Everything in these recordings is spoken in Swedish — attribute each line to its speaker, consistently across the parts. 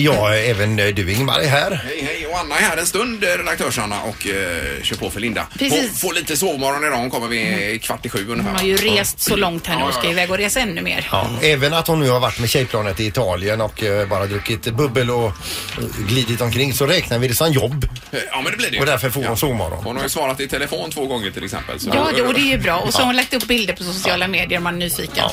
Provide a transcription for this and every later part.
Speaker 1: Ja, även eh, du Ingmar är här.
Speaker 2: Hej hej och Anna är här en stund, eh, redaktörs-Anna och eh, kör på för Linda.
Speaker 3: Precis. Mm.
Speaker 2: Får, får lite sovmorgon idag, hon kommer vid kvart i sju ungefär.
Speaker 3: Hon har ju rest så långt här nu och ska iväg och resa ännu mer.
Speaker 1: Ja. Även att hon nu har varit med tjejplanet i Italien och eh, bara druckit bubbel och eh, glidit omkring så räknar vi det som jobb.
Speaker 2: Eh, Ja men det blir det ju.
Speaker 1: Och därför får
Speaker 2: ja.
Speaker 1: hon sovmorgon.
Speaker 2: Hon har ju svarat i telefon två gånger till exempel. så-
Speaker 3: Ja, det, och det är ju bra. Och så har hon lagt upp bilder på sociala medier om man är nyfiken.
Speaker 1: Ja,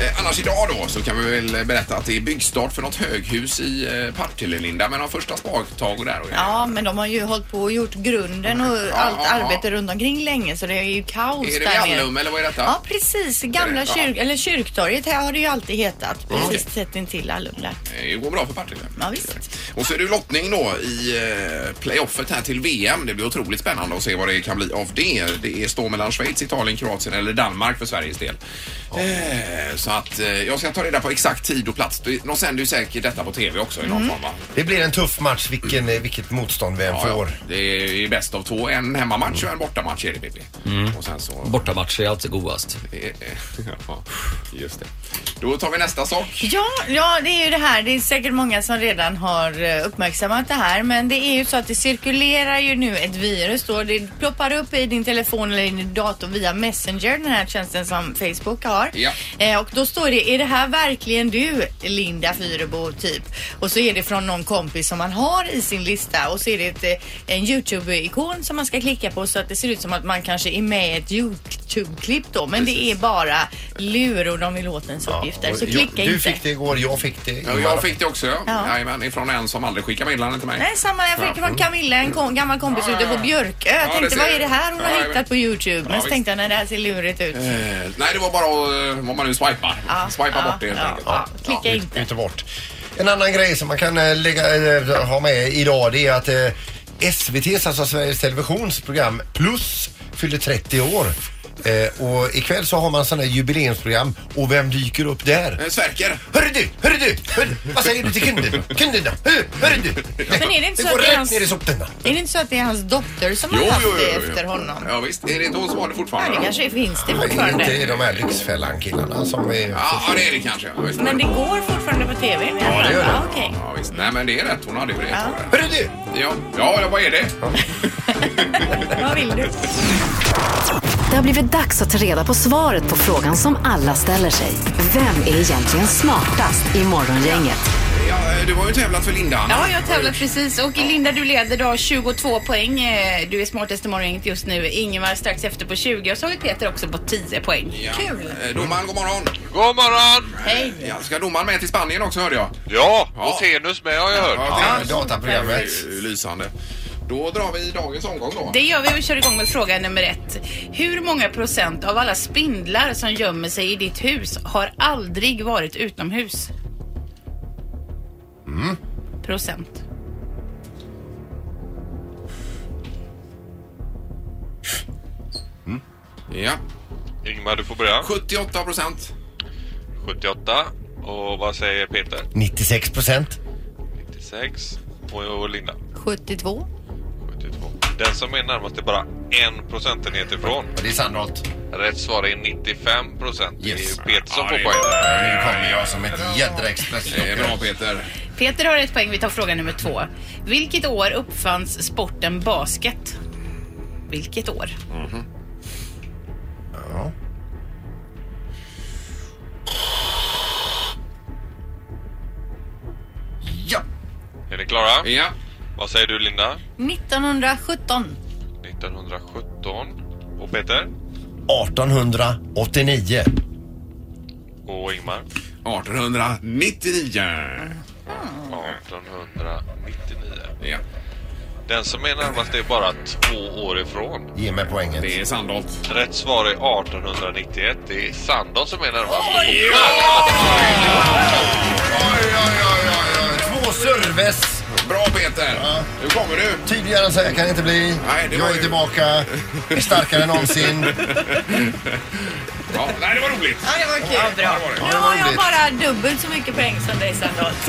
Speaker 2: Eh, Annars idag då så kan vi väl berätta att det är byggstart för något höghus i eh, Partille Linda med de första spadtag och där och grejer.
Speaker 4: Ja, men de har ju hållit på och gjort grunden och allt
Speaker 2: ja, ja.
Speaker 4: arbete runt omkring länge så det är ju kaos
Speaker 2: Är det
Speaker 4: där nere.
Speaker 2: Vallum eller vad är detta?
Speaker 4: Ja, precis. Gamla
Speaker 2: Ja.
Speaker 4: kyrk, eller kyrktorget här har det ju alltid hetat. Precis tätt intill Vallum där.
Speaker 2: Eh, Det går bra för Partille.
Speaker 4: Ja, visst.
Speaker 2: Och så är det ju lottning då i eh, playoffet här till VM. Det blir otroligt spännande att se vad det kan bli av det. Det är står mellan Schweiz, Italien, Kroatien eller Danmark för Sveriges del. Eh, Så att eh, jag ska ta reda på exakt tid och plats. De sänder ju säkert detta på TV också i
Speaker 4: Mm.
Speaker 2: någon form va?
Speaker 1: Det blir en tuff match vilken, eh, vilket motstånd vi än
Speaker 2: Ja,
Speaker 1: får.
Speaker 2: ja. Det är ju bäst av två. En hemmamatch och en bortamatch är det Pippi. Och sen så...
Speaker 5: Mm. Bortamatcher är alltid godast.
Speaker 2: ja, just det. Då tar vi nästa sak.
Speaker 4: Ja, ja, det är ju det här. Det är säkert många som redan har eh, uppmärksammat det här. Men det är ju så att det cirkulerar ju nu ett virus då. Det ploppar upp i din telefon eller i din dator via Messenger, den här tjänsten som Facebook har.
Speaker 2: Ja.
Speaker 4: Eh, och då står det, är det här verkligen du Linda Fyrebo typ? Och så är det från någon kompis som man har i sin lista. Och så är det ett, eh, en YouTube-ikon som man ska klicka på så att det ser ut som att man kanske är med i ett YouTube-klipp då. Men det är bara lur och de vill åt ens uppgifter.
Speaker 1: Och
Speaker 4: så
Speaker 1: jag-
Speaker 4: klicka
Speaker 1: du
Speaker 4: inte.
Speaker 1: fick det igår, jag fick det.
Speaker 2: Ja, Jag fick det också ja.
Speaker 4: Ja.
Speaker 2: Jajamän, ifrån en som aldrig skickar meddelanden till mig.
Speaker 4: Nej, samma. Jag fick från Camilla, en kom, gammal
Speaker 1: Ah.
Speaker 4: kompis
Speaker 2: Ja, ja,
Speaker 4: ute
Speaker 2: ja.
Speaker 4: på Björkö.
Speaker 2: Ja,
Speaker 4: Jag
Speaker 2: det
Speaker 4: tänkte,
Speaker 2: ser
Speaker 4: vad
Speaker 2: jag.
Speaker 4: är det här hon
Speaker 2: Ja,
Speaker 4: har
Speaker 2: jag
Speaker 4: hittat
Speaker 2: vet.
Speaker 4: på Youtube?
Speaker 2: Ja,
Speaker 4: Men så
Speaker 2: visst.
Speaker 4: tänkte jag, nej det här ser lurigt ut.
Speaker 2: Eh, Nej, det var bara att, eh, vad man nu swipar. Swipa
Speaker 4: ja,
Speaker 2: bort det helt
Speaker 4: ja,
Speaker 2: enkelt.
Speaker 4: ja. Klicka
Speaker 2: Ja.
Speaker 4: inte.
Speaker 1: Inte bort. En annan grej som man kan eh, lägga, eh, ha med idag det är att eh, SVTs, alltså Sveriges Televisions program Plus fyller 30 år. Eh, och ikväll så har man sådana jubileumsprogram och vem dyker upp där?
Speaker 2: Eh, Sverker.
Speaker 1: Hörru du, hörru du, hörru, vad säger du till kunden? Kunderna, hörru, hörru du.
Speaker 4: Men är det inte
Speaker 1: Vi
Speaker 4: så
Speaker 1: går
Speaker 4: att det är
Speaker 1: rätt
Speaker 4: hans,
Speaker 1: ner i soporna.
Speaker 4: är det inte så att det är hans dotter som har haft det efter honom?
Speaker 2: Ja, visst. Är det inte hon som har det
Speaker 4: Ja,
Speaker 2: fortfarande?
Speaker 4: det kanske finns det
Speaker 1: Nej,
Speaker 4: fortfarande.
Speaker 1: Inte är de här Lyxfällan-killarna som är...
Speaker 2: Ja, ja, det är det kanske. Ja, visst.
Speaker 4: Men det går fortfarande på TV?
Speaker 1: Ja, det gör det.
Speaker 4: Ja, okej.
Speaker 2: Ja, visst. Nej, men det är rätt. Hon hade ju det. Ja.
Speaker 1: Hörru du,
Speaker 2: Ja. ja, vad är det?
Speaker 4: Vad vill du?
Speaker 6: Det har blivit dags att ta reda på svaret på frågan som alla ställer sig. Vem är egentligen smartast i Morgongänget?
Speaker 2: Ja, eh, du har ju tävlat för Linda, Anna.
Speaker 3: Ja, jag tävlar precis och Linda du leder då 22 poäng. Eh, Du är smartast i morgongänget just nu. Ingemar strax efter på 20 och så har vi Peter också på 10 poäng.
Speaker 2: Ja. Eh, Domaren, god morgon.
Speaker 7: God morgon!
Speaker 3: Hej!
Speaker 2: Ja, ska domaren med till Spanien också hörde jag?
Speaker 7: Ja,
Speaker 2: Ja.
Speaker 7: Rotenus med har jag hört.
Speaker 1: ja,
Speaker 2: det är
Speaker 1: dataprogrammet.
Speaker 2: ju Lysande. Då drar vi dagens omgång då.
Speaker 3: Det gör vi och vi kör igång med fråga nummer ett. Hur många procent av alla spindlar som gömmer sig i ditt hus har aldrig varit utomhus?
Speaker 2: Mm.
Speaker 3: Procent.
Speaker 2: Ja.
Speaker 7: Ingmar, du får börja.
Speaker 2: 78 procent.
Speaker 7: 78. Och vad säger Peter?
Speaker 1: 96 procent.
Speaker 7: 96. Och, och Linda?
Speaker 4: 72?
Speaker 7: 72. Den som är närmast är bara en procentenhet ifrån.
Speaker 1: Ja, Det är Sandholt.
Speaker 7: Rätt svar är 95 procent.
Speaker 1: Yes.
Speaker 7: Det är ju Peter som
Speaker 2: Ja,
Speaker 7: får
Speaker 2: det-
Speaker 7: poäng.
Speaker 1: Nu kommer jag som ett jädra express.
Speaker 2: Det är Eh, bra Peter.
Speaker 3: Peter har ett poäng. Vi tar fråga nummer två. Vilket år uppfanns sporten basket? Vilket år?
Speaker 1: Ja.
Speaker 7: Är ni klara?
Speaker 2: Ja.
Speaker 7: Vad säger du Linda?
Speaker 4: 1917.
Speaker 7: 1917. Och Peter?
Speaker 1: 1889.
Speaker 7: Och Ingmar?
Speaker 2: 1899.
Speaker 7: 1899.
Speaker 2: Ja,
Speaker 7: Den som är närmast är bara två år ifrån.
Speaker 1: Ge mig poängen.
Speaker 2: det är Sandholt.
Speaker 7: Rätt svar är 1891. Det är Sandon som är närmast.
Speaker 1: Oj, oj, oj, oj, oj. Två serves.
Speaker 2: Bra Peter! Nu kommer du.
Speaker 1: Tydligare än så här kan det inte bli.
Speaker 2: Nej, det var
Speaker 1: jag är
Speaker 2: ju-
Speaker 1: tillbaka. Starkare än någonsin.
Speaker 2: Ja, nej, det var roligt.
Speaker 4: Ja, det var kul.
Speaker 2: Ja, det var det.
Speaker 4: Nu har jag
Speaker 1: roligt.
Speaker 4: bara dubbelt så mycket poäng som dig Sandholt.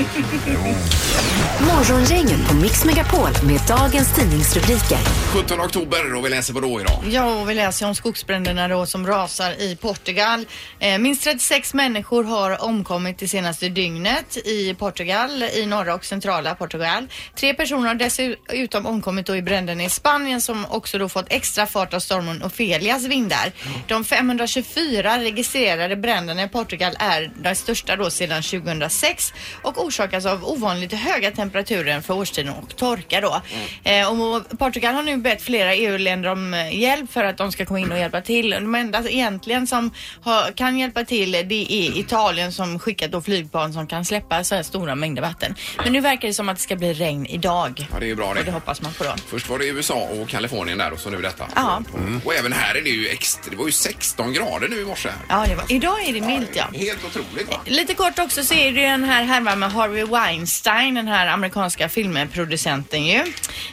Speaker 6: Morgongänget på Mix Megapol med dagens tidningsrubriker.
Speaker 2: 17 oktober och vi läser vadå idag?
Speaker 4: Ja, och vi läser om skogsbränderna då som rasar i Portugal. Eh, minst 36 människor har omkommit det senaste dygnet i Portugal, i norra och centrala Portugal. Tre personer har dessutom omkommit då i bränderna i Spanien som också då fått extra fart av stormen Ophelias vindar. De 524 registrerade bränderna i Portugal är de största då sedan 2006 och orsakas av ovanligt höga temperaturer för årstiden och torka då. Eh, och Portugal har nu bett flera EU-länder om eh, hjälp för att de ska komma in och hjälpa till. De enda egentligen som har, kan hjälpa till det är Italien som skickat då flygplan som kan släppa så här stora mängder vatten. Men nu verkar det som att det ska bli regn idag.
Speaker 2: Ja, det är ju bra
Speaker 4: Och det
Speaker 2: det.
Speaker 4: hoppas man på då.
Speaker 2: Först var det USA och Kalifornien där och så nu detta. Mm.
Speaker 4: Ja.
Speaker 2: Och även här är det ju extra, det var ju 16 grader nu i morse. här.
Speaker 4: Ja, det var. Idag är det milt ja.
Speaker 2: Helt otroligt va?
Speaker 4: Lite kort också så är det ju den här härvan med Harvey Weinstein, den här amerikanska filmproducenten ju.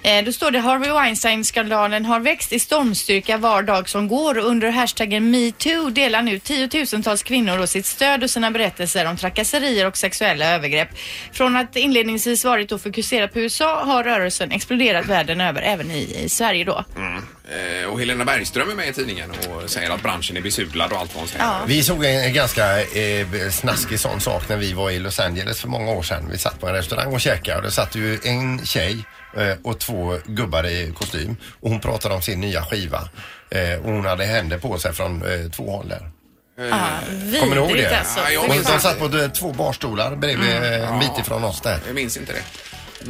Speaker 4: Eh, då står det Harvey Weinstein-skandalen har växt i stormstyrka var dag som går och under hashtaggen metoo delar nu tiotusentals kvinnor då sitt stöd och sina berättelser om trakasserier och sexuella övergrepp. Från att inledningsvis varit och fokuserat på USA har rörelsen exploderat världen över, även i, i Sverige då.
Speaker 2: Eh, och Helena Bergström är med i tidningen och säger att branschen är besudlad och allt vad hon säger.
Speaker 4: Ja.
Speaker 1: Vi såg en ganska eh, snaskig sån sak när vi var i Los Angeles för många år sedan. Vi satt på en restaurang och käkade och det satt ju en tjej eh, och två gubbar i kostym och hon pratade om sin nya skiva. Eh, och hon hade händer på sig från eh, två håll där.
Speaker 4: Vidrigt
Speaker 1: Kommer du ihåg det?
Speaker 4: alltså.
Speaker 2: Ja, jag
Speaker 1: Och
Speaker 2: minns
Speaker 1: de satt på eh, två barstolar bredvid
Speaker 2: Mm.
Speaker 1: eh, en bit ifrån oss där.
Speaker 2: Jag minns inte det.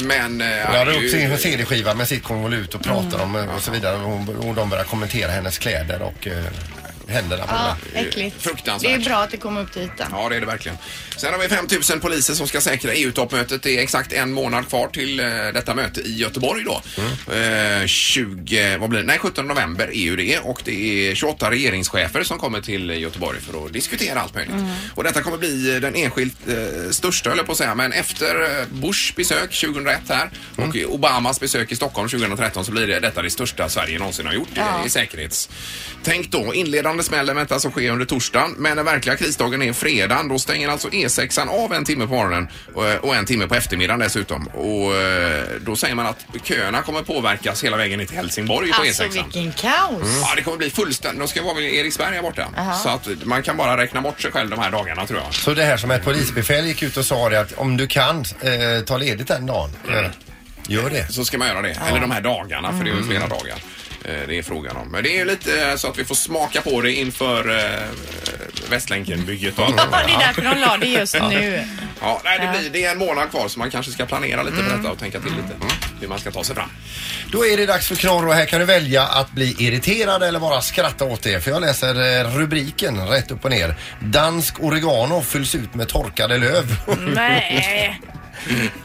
Speaker 2: Men... Eh,
Speaker 1: Hon
Speaker 2: det
Speaker 1: hade
Speaker 2: är
Speaker 1: upp sin CD-skiva med sitt konvolut och pratade om eh, och så vidare. Och, hon, och de började kommentera hennes kläder och eh, händerna på
Speaker 4: Ja,
Speaker 1: henne.
Speaker 4: äckligt.
Speaker 2: Fruktansvärt.
Speaker 4: Det är bra att det kom upp till ytan.
Speaker 2: Ja, det är det verkligen. Sen har vi 5 000 poliser som ska säkra EU-toppmötet. Det är exakt en månad kvar till eh, detta möte i Göteborg då. Eh, 20, vad blir det? Nej, 17 november är ju det och det är 28 regeringschefer som kommer till Göteborg för att diskutera allt möjligt. Och detta kommer bli den enskilt eh, största, höll jag på att säga, men efter eh, Bushs besök 2001 här
Speaker 4: Mm.
Speaker 2: och Obamas besök i Stockholm 2013 så blir det detta det största Sverige någonsin har gjort i, i säkerhets. Tänk då, inledande smällen väntas att ske under torsdagen men den verkliga krisdagen är fredagen. Då stänger alltså E6 av en timme på morgonen eh, och, och en timme på eftermiddagen dessutom. Och eh, då säger man att köerna kommer påverkas hela vägen ner till Helsingborg på
Speaker 4: Alltså
Speaker 2: E6.
Speaker 4: vilken kaos.
Speaker 2: Ja, det kommer bli fullständigt. De ska vara vid Eriksberg här borta. Så att man kan bara räkna bort sig själv de här dagarna tror jag.
Speaker 1: Så det här som ett polisbefäl gick ut och sa det att om du kan eh, ta ledigt den dagen,
Speaker 2: Mm.
Speaker 1: eh, gör det.
Speaker 2: så ska man göra det. Eller de här dagarna, för det är ju flera dagar eh, det är frågan om. Men det är ju lite eh, så att vi får smaka på det inför eh, Västlänken-bygget och allt det
Speaker 4: Ja,
Speaker 2: där.
Speaker 4: det är därför de la det just nu.
Speaker 2: Ja, nej, det, blir, det är en månad kvar så man kanske ska planera lite för detta och tänka till lite hur man ska ta sig fram.
Speaker 1: Då är det dags för knorr och här kan du välja att bli irriterad eller bara skratta åt det. För jag läser eh, rubriken rätt upp och ner. Dansk oregano fylls ut med torkade löv.
Speaker 4: Nej.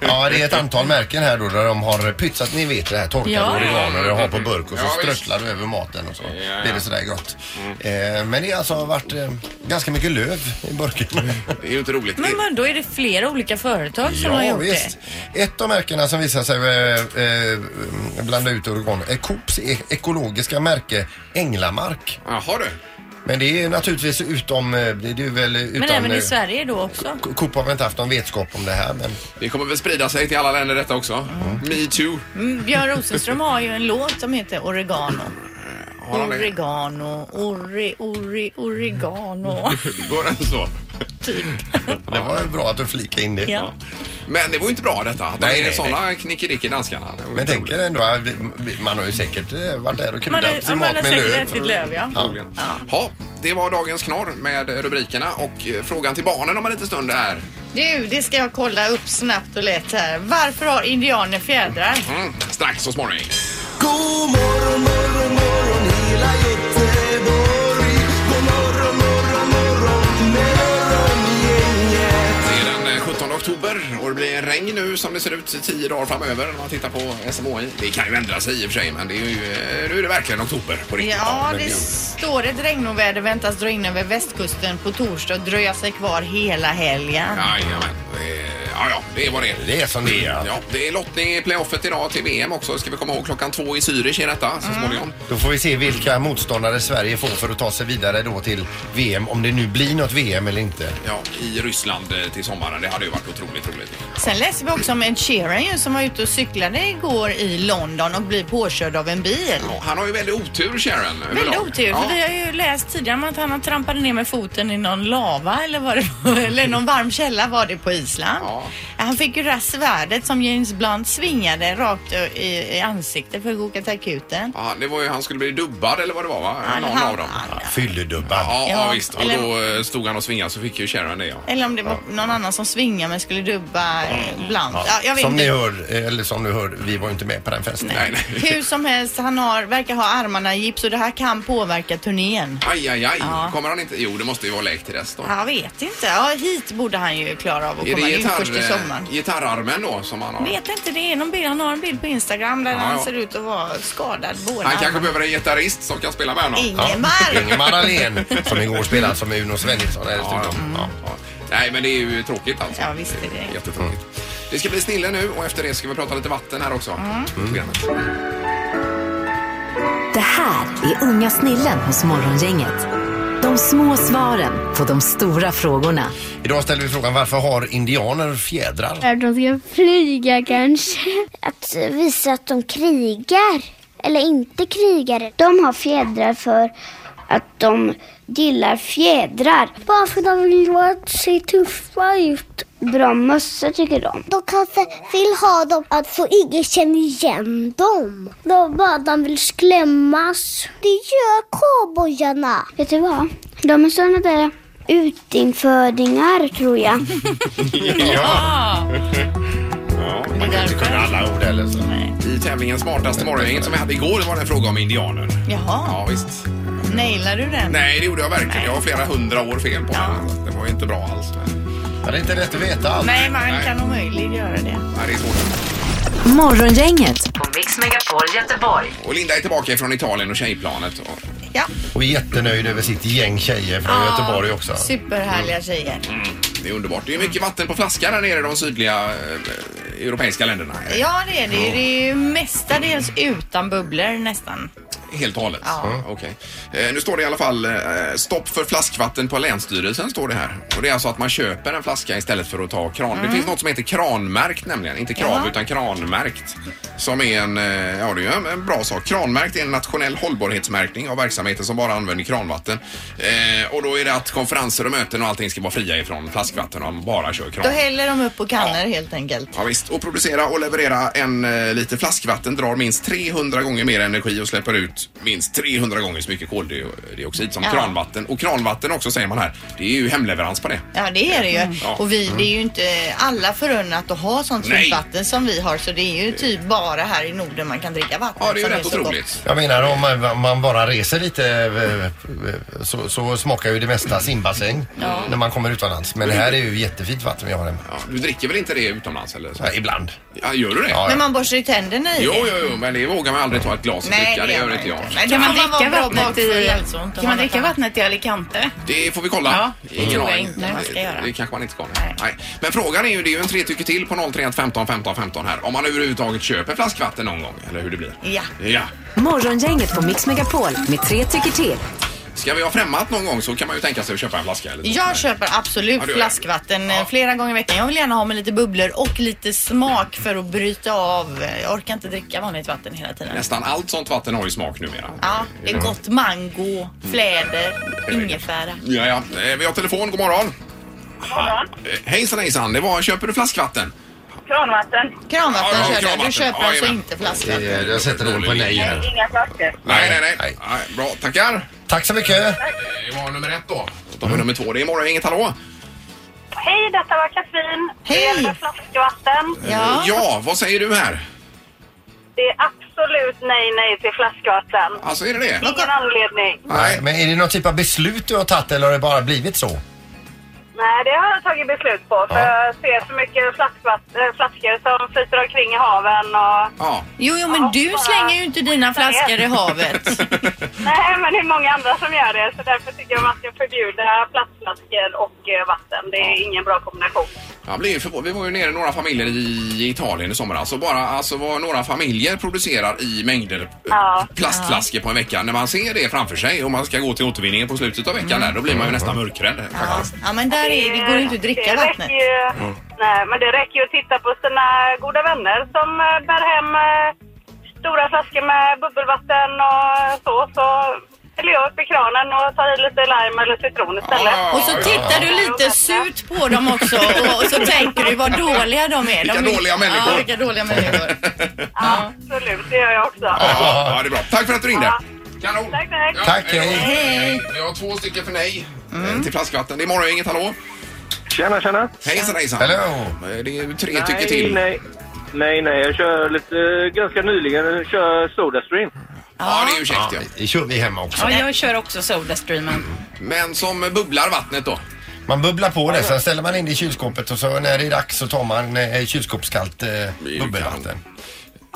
Speaker 1: ja, det är ett antal märken här då där de har pytsat, ni vet det här torkade
Speaker 4: Ja.
Speaker 1: oregano det har på burk och så
Speaker 2: Ja, visst.
Speaker 1: strösslar du över maten och så
Speaker 2: Ja, Mm.
Speaker 1: blir
Speaker 2: ja.
Speaker 1: det sådär gott. Eh, men det har alltså varit eh, ganska mycket löv i burken.
Speaker 2: Det är ju inte roligt.
Speaker 4: Men man, då är det flera olika företag som har gjort det.
Speaker 1: Ett av märkena som visar sig eh, eh, blanda ut oregon är Coops e- ekologiska märke Änglamark.
Speaker 2: Jaha du.
Speaker 1: Men det är naturligtvis utom... eh, Det är ju väl utan,
Speaker 4: Men även
Speaker 1: eh,
Speaker 4: i Sverige då också.
Speaker 1: Co- Coop har väl inte haft någon vetskap om det här men...
Speaker 2: Det kommer väl sprida sig till alla länder detta också. Me too.
Speaker 4: Mm, Björn Rosenström har ju en låt som heter Oregano.
Speaker 2: Har han det?
Speaker 4: Oregano, ore, ore, oregano.
Speaker 2: Går den så?
Speaker 1: Det var ju bra att du flikade in det.
Speaker 4: Ja.
Speaker 2: Men det var ju inte bra detta. Att
Speaker 1: Nej,
Speaker 2: de är
Speaker 1: nej,
Speaker 2: sådana knickedickor danskarna. Det var ju
Speaker 1: Men
Speaker 2: inte
Speaker 1: tänk
Speaker 2: roligt.
Speaker 1: er ändå, eh, vi- man har ju säkert eh, varit där och
Speaker 4: Man
Speaker 1: kryddat
Speaker 4: har,
Speaker 1: sin
Speaker 4: man
Speaker 1: mat
Speaker 4: har
Speaker 1: med
Speaker 4: säkert
Speaker 1: löv.
Speaker 4: ätit löv ja.
Speaker 2: Ja. Ja, det var dagens knorr med rubrikerna och eh, frågan till barnen om en liten stund är
Speaker 4: Du, det ska jag kolla upp snabbt och lätt här. Varför har indianer fjädrar?
Speaker 2: mm, strax så småningom.
Speaker 8: God morgon, morgon, morgon hela Göteborg. God morgon, morgon, morgon med öronen.
Speaker 2: över eh, och det blir regn nu som det ser ut i tio dagar framöver när man tittar på SMHI. Det kan ju ändra sig i och för sig men det är ju, eh, nu är det verkligen oktober på riktigt.
Speaker 4: Ja,
Speaker 2: men
Speaker 4: det
Speaker 2: ju-
Speaker 4: står ett regnoväder väntas dra in över västkusten på torsdag och dröja sig kvar hela helgen.
Speaker 2: Jajamän. Eh, Ja, ja, det är vad det är.
Speaker 1: Det är som det är.
Speaker 2: Ja, det är lottning i playoffet idag till VM också. Ska vi komma ihåg klockan två i Zürich är detta
Speaker 4: Mm.
Speaker 2: så småningom.
Speaker 1: Då får vi se vilka motståndare Sverige får för att ta sig vidare då till VM. Om det nu blir något VM eller inte.
Speaker 2: Ja, i Ryssland eh, till sommaren. Det hade ju varit otroligt roligt.
Speaker 4: Sen läser vi också om en Sheeran ju som var ute och cyklade igår i London och blev påkörd av en bil.
Speaker 2: Ja, han har ju väldigt otur, Sharon.
Speaker 4: Väldigt
Speaker 2: överlag.
Speaker 4: otur, för vi har ju läst tidigare om att han trampade ner med foten i någon lava eller vad det var, eller någon varm källa var det på Island.
Speaker 2: Ja.
Speaker 4: Han fick ju det här svärdet som James Blunt svingade rakt ö- i, i ansiktet för att åka till akuten.
Speaker 2: Ja, det var ju, han skulle bli dubbad eller vad det var, va?
Speaker 4: Han-
Speaker 2: Någon
Speaker 4: han-
Speaker 2: av dem.
Speaker 4: han-
Speaker 1: Fylledubbar.
Speaker 2: Ja, ja,
Speaker 4: Ja,
Speaker 2: visst. Och
Speaker 4: eller-
Speaker 2: då eh, stod han och svingade så fick ju Sharon det, ja. Mm,
Speaker 4: Eller om det var någon annan som svingade men skulle dubba eh, Blunt. Ja, jag vet
Speaker 1: som
Speaker 4: inte.
Speaker 1: ni hör, eller som du hör, vi var ju inte med på den festen.
Speaker 2: Nej, nej.
Speaker 4: Hur som helst, han har, verkar ha armarna i gips och det här kan påverka turnén.
Speaker 2: Aj, aj, aj.
Speaker 4: Ja.
Speaker 2: Kommer han inte? Jo, det måste ju vara läkt till dess då.
Speaker 4: Jag vet inte. Ja, hit borde han ju klara av att
Speaker 2: Är det
Speaker 4: komma in
Speaker 2: gitarr,
Speaker 4: först i sommar.
Speaker 2: eh, gitarrarmen då som han har?
Speaker 4: Vet inte, det är någon bild. Han har en bild på Instagram där
Speaker 2: Ja,
Speaker 4: han
Speaker 2: ja.
Speaker 4: ser ut att vara skadad båda.
Speaker 2: Han kanske behöver en gitarrist som kan spela med honom.
Speaker 4: Ingemar!
Speaker 1: Ingemar Ahlén, som igår spelade som Uno Svenningsson här i
Speaker 2: Ja,
Speaker 1: studion.
Speaker 2: ja, ja. Nej, men det är ju tråkigt alltså.
Speaker 4: Ja, visst är det.
Speaker 2: Jättetråkigt. Det ska bli snille nu och efter det ska vi prata lite vatten här också.
Speaker 4: Mm.
Speaker 2: i programmet.
Speaker 6: Det här är Unga snillen hos Morgongänget. De små svaren på de stora frågorna.
Speaker 1: Idag ställer vi frågan varför har indianer fjädrar?
Speaker 5: De ska flyga kanske. Att visa att de krigar. Eller inte krigar. De har fjädrar för att de gillar fjädrar. Bara för att de vill se tuffa ut. Bra mössor tycker de. De kanske vill ha dem att få ingen känner igen dem. De bara de vill skrämmas. Det gör cowboyarna. Vet du vad? De är såna där utinfödingar tror jag.
Speaker 2: Ja, man kan inte kunna alla ord heller. Så. I tävlingen Smartaste morgonen som vi hade igår var det en fråga om indianer.
Speaker 4: Jaha,
Speaker 2: Ja, visst.
Speaker 4: nailar du den?
Speaker 2: Nej, det gjorde jag verkligen. Jag har flera hundra år fel på den. Det var ju inte bra alls. Men,
Speaker 1: Ja, det är inte lätt att veta allt.
Speaker 4: Nej, man kan omöjligt göra det.
Speaker 2: nej, det är svårt.
Speaker 6: Morgongänget på Mix Megapol Göteborg.
Speaker 2: Och Linda är tillbaka från Italien och tjejplanet. Och,
Speaker 4: Ja.
Speaker 1: Och är jättenöjd över sitt gäng tjejer från Göteborg också.
Speaker 2: Mm.
Speaker 4: Superhärliga tjejer.
Speaker 2: det är underbart. Det är mycket vatten på flaskan här nere i de sydliga eh, europeiska länderna.
Speaker 4: Ja, det är det ju. Det är ju mestadels utan bubblor nästan.
Speaker 2: Helt och hållet?
Speaker 4: Ja.
Speaker 2: Mm, okej. Eh, nu står det i alla fall eh, stopp för flaskvatten på Länsstyrelsen står det här. Och det är alltså att man köper en flaska istället för att ta kran. Det finns något som heter kranmärkt nämligen. Inte krav
Speaker 4: Mm. Jaha.
Speaker 2: utan kranmärkt. Som är en, eh, ja det är ju en, en bra sak. Kranmärkt är en nationell hållbarhetsmärkning av verksamheter som bara använder kranvatten. Eh, och då är det att konferenser och möten och allting ska vara fria ifrån flaskvatten om man bara kör kran.
Speaker 4: Då häller de upp på kannor helt enkelt.
Speaker 2: Ja, visst. Och producera och leverera en eh, liter flaskvatten drar minst 300 gånger mer energi och släpper ut minst 300 gånger så mycket koldioxid som
Speaker 4: Ja.
Speaker 2: kranvatten. Och kranvatten också säger man här, det är ju hemleverans på det.
Speaker 4: Ja, det är det ju.
Speaker 2: Mm. Ja.
Speaker 4: Och vi, det är ju inte alla förunnat att ha sånt
Speaker 2: Nej.
Speaker 4: fint vatten som vi har så det är ju typ bara här i Norden man kan dricka vatten.
Speaker 2: Ja, det är ju
Speaker 4: som
Speaker 2: rätt
Speaker 4: så gott.
Speaker 2: otroligt.
Speaker 1: Jag menar om man- om man bara reser lite eh, så, så smakar ju det mesta simbassäng när man kommer utomlands. Men det här är ju jättefint vatten vi har hemma.
Speaker 2: Ja, du dricker väl inte det utomlands eller? Så?
Speaker 1: Ja, ibland.
Speaker 2: Ja, gör du det?
Speaker 1: Ja,
Speaker 4: Men man borstar ju tänderna i
Speaker 2: Jo,
Speaker 4: det.
Speaker 2: jo, jo, men det vågar man aldrig ta ett glas och dricka. Det gör inte jag.
Speaker 4: Men
Speaker 3: Kan man
Speaker 4: vara
Speaker 3: dricka
Speaker 4: bra
Speaker 3: vattnet
Speaker 4: bakfull
Speaker 3: i,
Speaker 4: alltså, inte
Speaker 3: kan man
Speaker 4: ha
Speaker 3: dricka
Speaker 4: något
Speaker 3: vattnet i Alicante?
Speaker 2: Det får vi kolla.
Speaker 3: Ja,
Speaker 2: Ingen
Speaker 3: tror jag
Speaker 2: aning.
Speaker 3: inte man ska
Speaker 2: det,
Speaker 3: göra.
Speaker 2: det kanske man inte ska. Nej.
Speaker 3: Nej.
Speaker 2: Nej. Men frågan är ju, det är ju en tre tycker till på 031 15 15 15 här. Om man överhuvudtaget köper flaskvatten någon gång, eller hur det blir.
Speaker 4: Ja.
Speaker 2: Ja.
Speaker 6: Morgongänget på Mix Megapol med tre tycker till.
Speaker 2: Ska vi ha främmat någon gång så kan man ju tänka sig att köpa en flaska. Eller något.
Speaker 4: Jag köper absolut
Speaker 2: Ja, du gör.
Speaker 4: flaskvatten eh,
Speaker 2: Ja.
Speaker 4: flera gånger i veckan. Jag vill gärna ha med lite bubblor och lite smak för att bryta av. Jag orkar inte dricka vanligt vatten hela tiden.
Speaker 2: Nästan allt sånt vatten har ju smak numera.
Speaker 4: Ja, det är gott. Mango, fläder, ingefära.
Speaker 2: Ja, ja. Eh, Vi har telefon, god morgon. Eh, Hejsan hejsan, det var köper du flaskvatten?
Speaker 9: Kranvatten.
Speaker 4: Kranvatten
Speaker 2: Ja, ja,
Speaker 4: kör du.
Speaker 2: kranvatten.
Speaker 4: Du köper
Speaker 2: Ja,
Speaker 4: alltså
Speaker 2: jajamän.
Speaker 4: inte flaskvatten.
Speaker 1: Det är- Jag sätter den på nej här.
Speaker 9: Inga flaskor.
Speaker 2: Nej, nej, nej.
Speaker 1: Nej.
Speaker 2: nej. Bra, tackar.
Speaker 1: Tack så mycket.
Speaker 2: Eh, Det var nummer ett då. Då tar vi nummer två. Det är morgon, inget hallå?
Speaker 9: Hej, detta var Katrin.
Speaker 4: Hej.
Speaker 9: Det gäller flaskvatten.
Speaker 4: Ja.
Speaker 2: ja, vad säger du här?
Speaker 9: Det är absolut nej, nej till flaskvatten.
Speaker 2: Alltså är det det?
Speaker 9: Ingen anledning.
Speaker 1: Nej, men är det någon typ av beslut du har tagit eller har det bara blivit så?
Speaker 9: Nej, det har jag tagit beslut på. För
Speaker 2: Ja.
Speaker 9: jag ser så mycket flaskvatt- eh, flaskor som flyter omkring i haven och...
Speaker 2: Ja.
Speaker 4: Jo, jo, men du slänger ju inte dina flaskor i havet.
Speaker 9: Nej, men det är många andra som gör det. Så därför tycker jag man ska förbjuda plastflaskor och eh, vatten. Det är ingen bra kombination.
Speaker 2: Jag blev förvå- Vi var ju nere i några familjer i Italien i somras och bara alltså vad några familjer producerar i mängder eh,
Speaker 9: Ja.
Speaker 2: plastflaskor på en vecka. När man ser det framför sig och man ska gå till återvinningen på slutet av veckan där, då blir man ju nästan mörkrädd. faktiskt.
Speaker 4: Ja, men där är det. går ju inte att dricka
Speaker 9: det
Speaker 4: vattnet.
Speaker 9: räcker ju, Nej, men det räcker ju att titta på sina goda vänner som eh, bär hem eh, stora flaskor med bubbelvatten och så. Så häller jag upp i kranen och tar i lite lime eller citron istället.
Speaker 4: Och så tittar du lite surt på dem också och, och så tänker du vad dåliga de är. De
Speaker 2: Vilka
Speaker 4: är-
Speaker 2: dåliga människor.
Speaker 4: Ja, vilka dåliga människor.
Speaker 9: Absolut, det gör jag också.
Speaker 2: Ja, ja, det är bra. Tack för att du ringde. Kanon.
Speaker 9: Tack, tack.
Speaker 1: Tack,
Speaker 2: Ja,
Speaker 1: hej.
Speaker 2: hej. Vi har två stycken för nej eh, till flaskvatten. Det är morgon, inget hallå?
Speaker 10: Tjena, tjena.
Speaker 2: Hejsan, hejsan.
Speaker 1: Hallå.
Speaker 2: Eh, Det är ju tre
Speaker 10: nej,
Speaker 2: tycker till.
Speaker 10: Nej. nej, nej. Jag kör lite, eh, ganska nyligen, jag kör Sodastream.
Speaker 2: Ja, det är ju käckt ja.
Speaker 1: Det kör vi hemma också.
Speaker 3: Ja, jag kör också Sodastreamen.
Speaker 2: Men som bubblar vattnet då?
Speaker 1: Man bubblar på det, sen ställer man in det i kylskåpet och så när det är dags så tar man eh, kylskåpskallt eh, bubbelvatten.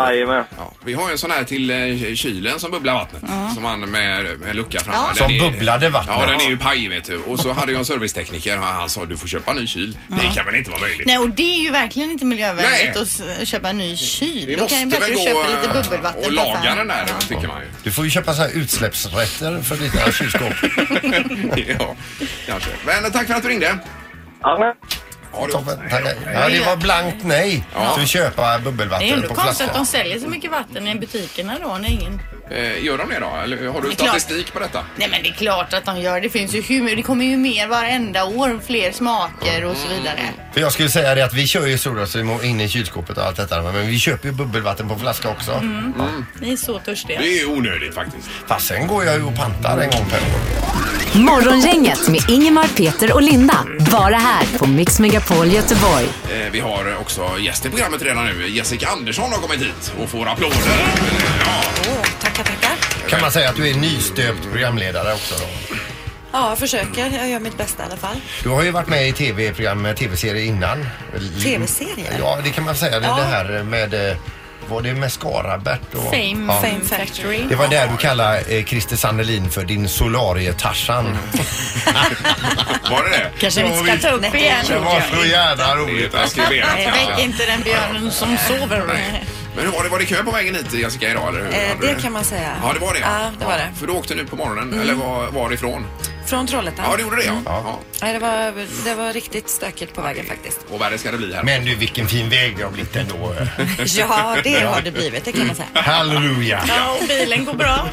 Speaker 10: Jajamän.
Speaker 2: Ja, vi har ju en sån här till eh, kylen som bubblar vattnet. Som man med, med lucka framme. Den
Speaker 1: Som
Speaker 2: är-
Speaker 1: bubblade vattnet.
Speaker 2: Ja, den är ju paj vet du. Och så hade jag en servicetekniker och han sa du får köpa en ny kyl. Det kan väl inte vara möjligt?
Speaker 4: Nej, och det är ju verkligen inte miljövänligt
Speaker 2: Nej.
Speaker 4: att s- köpa en ny kyl.
Speaker 2: Vi
Speaker 4: Då kan
Speaker 2: måste väl
Speaker 4: ju bättre
Speaker 2: gå
Speaker 4: köpa lite
Speaker 2: eh,
Speaker 4: bubbelvatten.
Speaker 2: och
Speaker 4: för
Speaker 2: laga
Speaker 4: fan.
Speaker 2: den där tycker man ju.
Speaker 1: Du får ju köpa så här utsläppsrätter för dina kylskåp.
Speaker 2: ja, kanske. Men tack för att du ringde.
Speaker 10: Ja,
Speaker 2: du-
Speaker 1: Toppen, tackar. ja, det var blankt nej
Speaker 2: Ja.
Speaker 1: till att köpa
Speaker 4: Det är
Speaker 1: bubbelvatten
Speaker 4: ändå
Speaker 1: på
Speaker 4: konstigt
Speaker 1: flaska.
Speaker 4: att de säljer så mycket vatten i butikerna då när ingen...
Speaker 2: Eh, Gör de det då? Eller har du
Speaker 4: Det är klart.
Speaker 2: statistik på detta?
Speaker 4: Nej men det är klart att de gör. Det finns ju hur Det kommer ju mer varenda år. Fler smaker och så
Speaker 11: Mm.
Speaker 4: vidare.
Speaker 1: För jag skulle säga det att vi kör ju Sodastream och inne i kylskåpet och allt detta. Men vi köper ju bubbelvatten på flaska också.
Speaker 4: Mm.
Speaker 1: Ja.
Speaker 4: Ni är så törstiga.
Speaker 2: Det är onödigt faktiskt.
Speaker 1: Fast sen går jag ju och pantar en gång per år.
Speaker 6: Morgongänget med Ingemar, Peter och Linda. Bara här på Mix Megapol Göteborg.
Speaker 2: Eh, Vi har också gäst i programmet redan nu. Jessica Andersson har kommit hit och får applåder.
Speaker 1: Kan man säga att du är nystöpt programledare också då?
Speaker 11: Ja, jag försöker. Jag gör mitt bästa i alla fall.
Speaker 1: Du har ju varit med i tv-program, tv-serie innan.
Speaker 11: TV-serier?
Speaker 1: Ja, det kan man säga. Det,
Speaker 11: Ja.
Speaker 1: det här med, eh, var det med Skarabert? Och,
Speaker 4: Fame,
Speaker 1: ja.
Speaker 11: Fame Factory.
Speaker 1: Det var där du kallade eh, Christer Sandelin för din solarie-Tarzan.
Speaker 2: Var det det?
Speaker 4: Kanske vi inte ska ta upp igen.
Speaker 1: Det var så jävla roligt.
Speaker 2: Det är preskriberat,
Speaker 4: Nej,
Speaker 2: kanske.
Speaker 4: Väck inte den björnen som sover.
Speaker 2: Men hur var det? Var det kö på vägen hit Jessica idag eller hur?
Speaker 11: Eh,
Speaker 2: Hade
Speaker 11: det
Speaker 2: du-
Speaker 11: kan man säga.
Speaker 2: Ja, det var det.
Speaker 11: Ja, det var det.
Speaker 2: För du åkte nu på morgonen, eller var, varifrån?
Speaker 11: Från Trollhättan.
Speaker 2: Ja, det gjorde det ja.
Speaker 11: Mm.
Speaker 2: ja.
Speaker 11: Nej, det var, det var riktigt stökigt på vägen faktiskt.
Speaker 2: Och värre ska det bli här.
Speaker 1: Men du, vilken fin väg det har blivit ändå.
Speaker 11: Ja, det har det blivit, det kan man säga.
Speaker 1: Halleluja!
Speaker 4: Ja, och bilen går bra.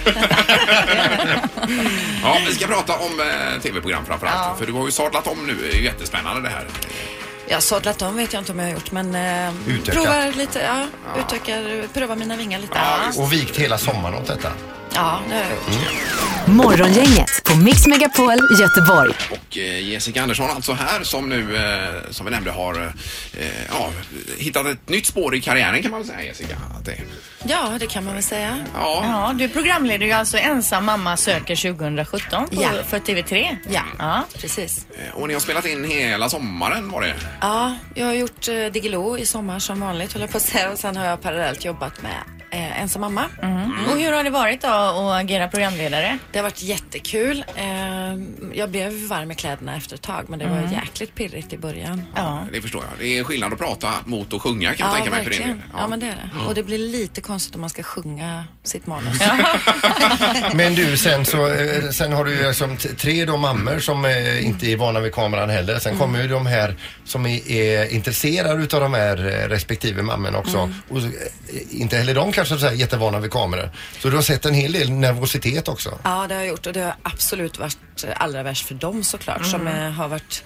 Speaker 2: Ja, vi ska prata om eh, tv-program framförallt.
Speaker 11: Ja.
Speaker 2: För du har ju sadlat om nu. Det är ju jättespännande det här.
Speaker 11: Jag har sadlat om vet jag inte om jag har gjort, men eh,
Speaker 1: Utökat.
Speaker 11: provar lite, ja, utökar, provar mina vingar lite.
Speaker 1: Och vikt hela sommaren åt detta.
Speaker 11: Ja, det har jag gjort.
Speaker 6: Morgongänget på Mix Megapol Göteborg.
Speaker 2: Och eh, Jessica Andersson alltså här som nu, eh, som vi nämnde, har eh, ja, hittat ett nytt spår i karriären kan man väl säga Jessica. Att det,
Speaker 11: Ja, det kan man väl säga.
Speaker 2: Ja.
Speaker 4: du programleder ju alltså Ensam mamma söker 2017 på,
Speaker 11: Ja.
Speaker 4: för TV3.
Speaker 11: Ja, precis.
Speaker 2: eh, och ni har spelat in hela sommaren var det?
Speaker 11: Ja, jag har gjort eh, Diggiloo i sommar som vanligt höll jag på att säga och sen har jag parallellt jobbat med eh, ensam mamma.
Speaker 4: Och hur har det varit då att agera programledare?
Speaker 11: Det har varit jättekul. Eh, jag blev varm i kläderna efter ett tag men det var
Speaker 4: Mm.
Speaker 11: jäkligt pirrigt i början.
Speaker 4: Ja.
Speaker 2: Det förstår jag. Det är skillnad att prata mot att sjunga kan jag tänka mig för din
Speaker 11: verkligen.
Speaker 2: del.
Speaker 11: Ja. men det är det. Och det blir lite konstigt om man ska sjunga sitt manus.
Speaker 1: Men du, sen så eh, sen har du ju liksom t- tre då mammor som eh, inte är vana vid kameran heller. Sen kommer ju de här som är, är intresserade utav de här eh, respektive mammorna också. Och så, eh, inte heller de kanske så här jättevana vid kameror. Så du har sett en hel del nervositet också.
Speaker 11: Ja, det har jag gjort och det har absolut varit allra värst för dem såklart som
Speaker 4: Mm.
Speaker 11: eh, har varit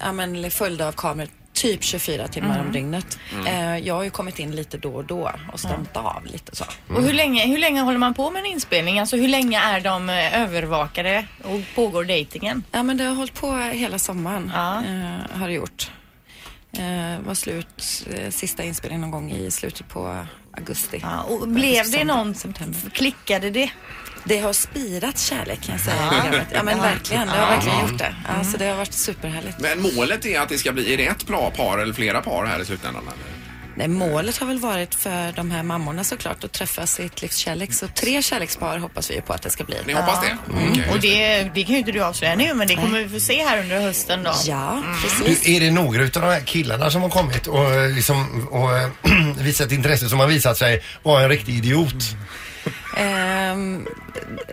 Speaker 11: ja, men, följda av kameror typ 24 timmar
Speaker 4: Mm.
Speaker 11: om dygnet.
Speaker 4: Mm.
Speaker 11: Eh, jag har ju kommit in lite då och då och stämt av lite så.
Speaker 4: Och hur länge, hur länge håller man på med en inspelning? Alltså hur länge är de eh, övervakade och pågår dejtingen?
Speaker 11: Ja, men det har hållit på hela sommaren. Eh, har det gjort. Eh, var slut, eh, sista inspelningen någon gång i slutet på augusti.
Speaker 4: och blev det någon, klickade det?
Speaker 11: Det har spirat kärlek kan jag säga.
Speaker 2: Ja.
Speaker 11: Ja, ja men verkligen, det har verkligen
Speaker 2: Ja.
Speaker 11: gjort det. Alltså det har varit superhärligt.
Speaker 2: Men målet är att det ska bli, är det ett bra par eller flera par här i slutändan? eller?
Speaker 11: Nej, målet har väl varit för de här mammorna såklart att träffa sitt livs kärlek. Så tre kärlekspar hoppas vi ju på att det ska bli.
Speaker 2: Ni hoppas det? Okej.
Speaker 4: Och det, det kan ju inte du avslöja nu men det kommer vi få se här under hösten då.
Speaker 11: Ja,
Speaker 4: precis.
Speaker 1: Du, är det några utav de här killarna som har kommit och, eh, liksom, och eh, visat intresse som har visat sig vara en riktig idiot?
Speaker 11: Ehm,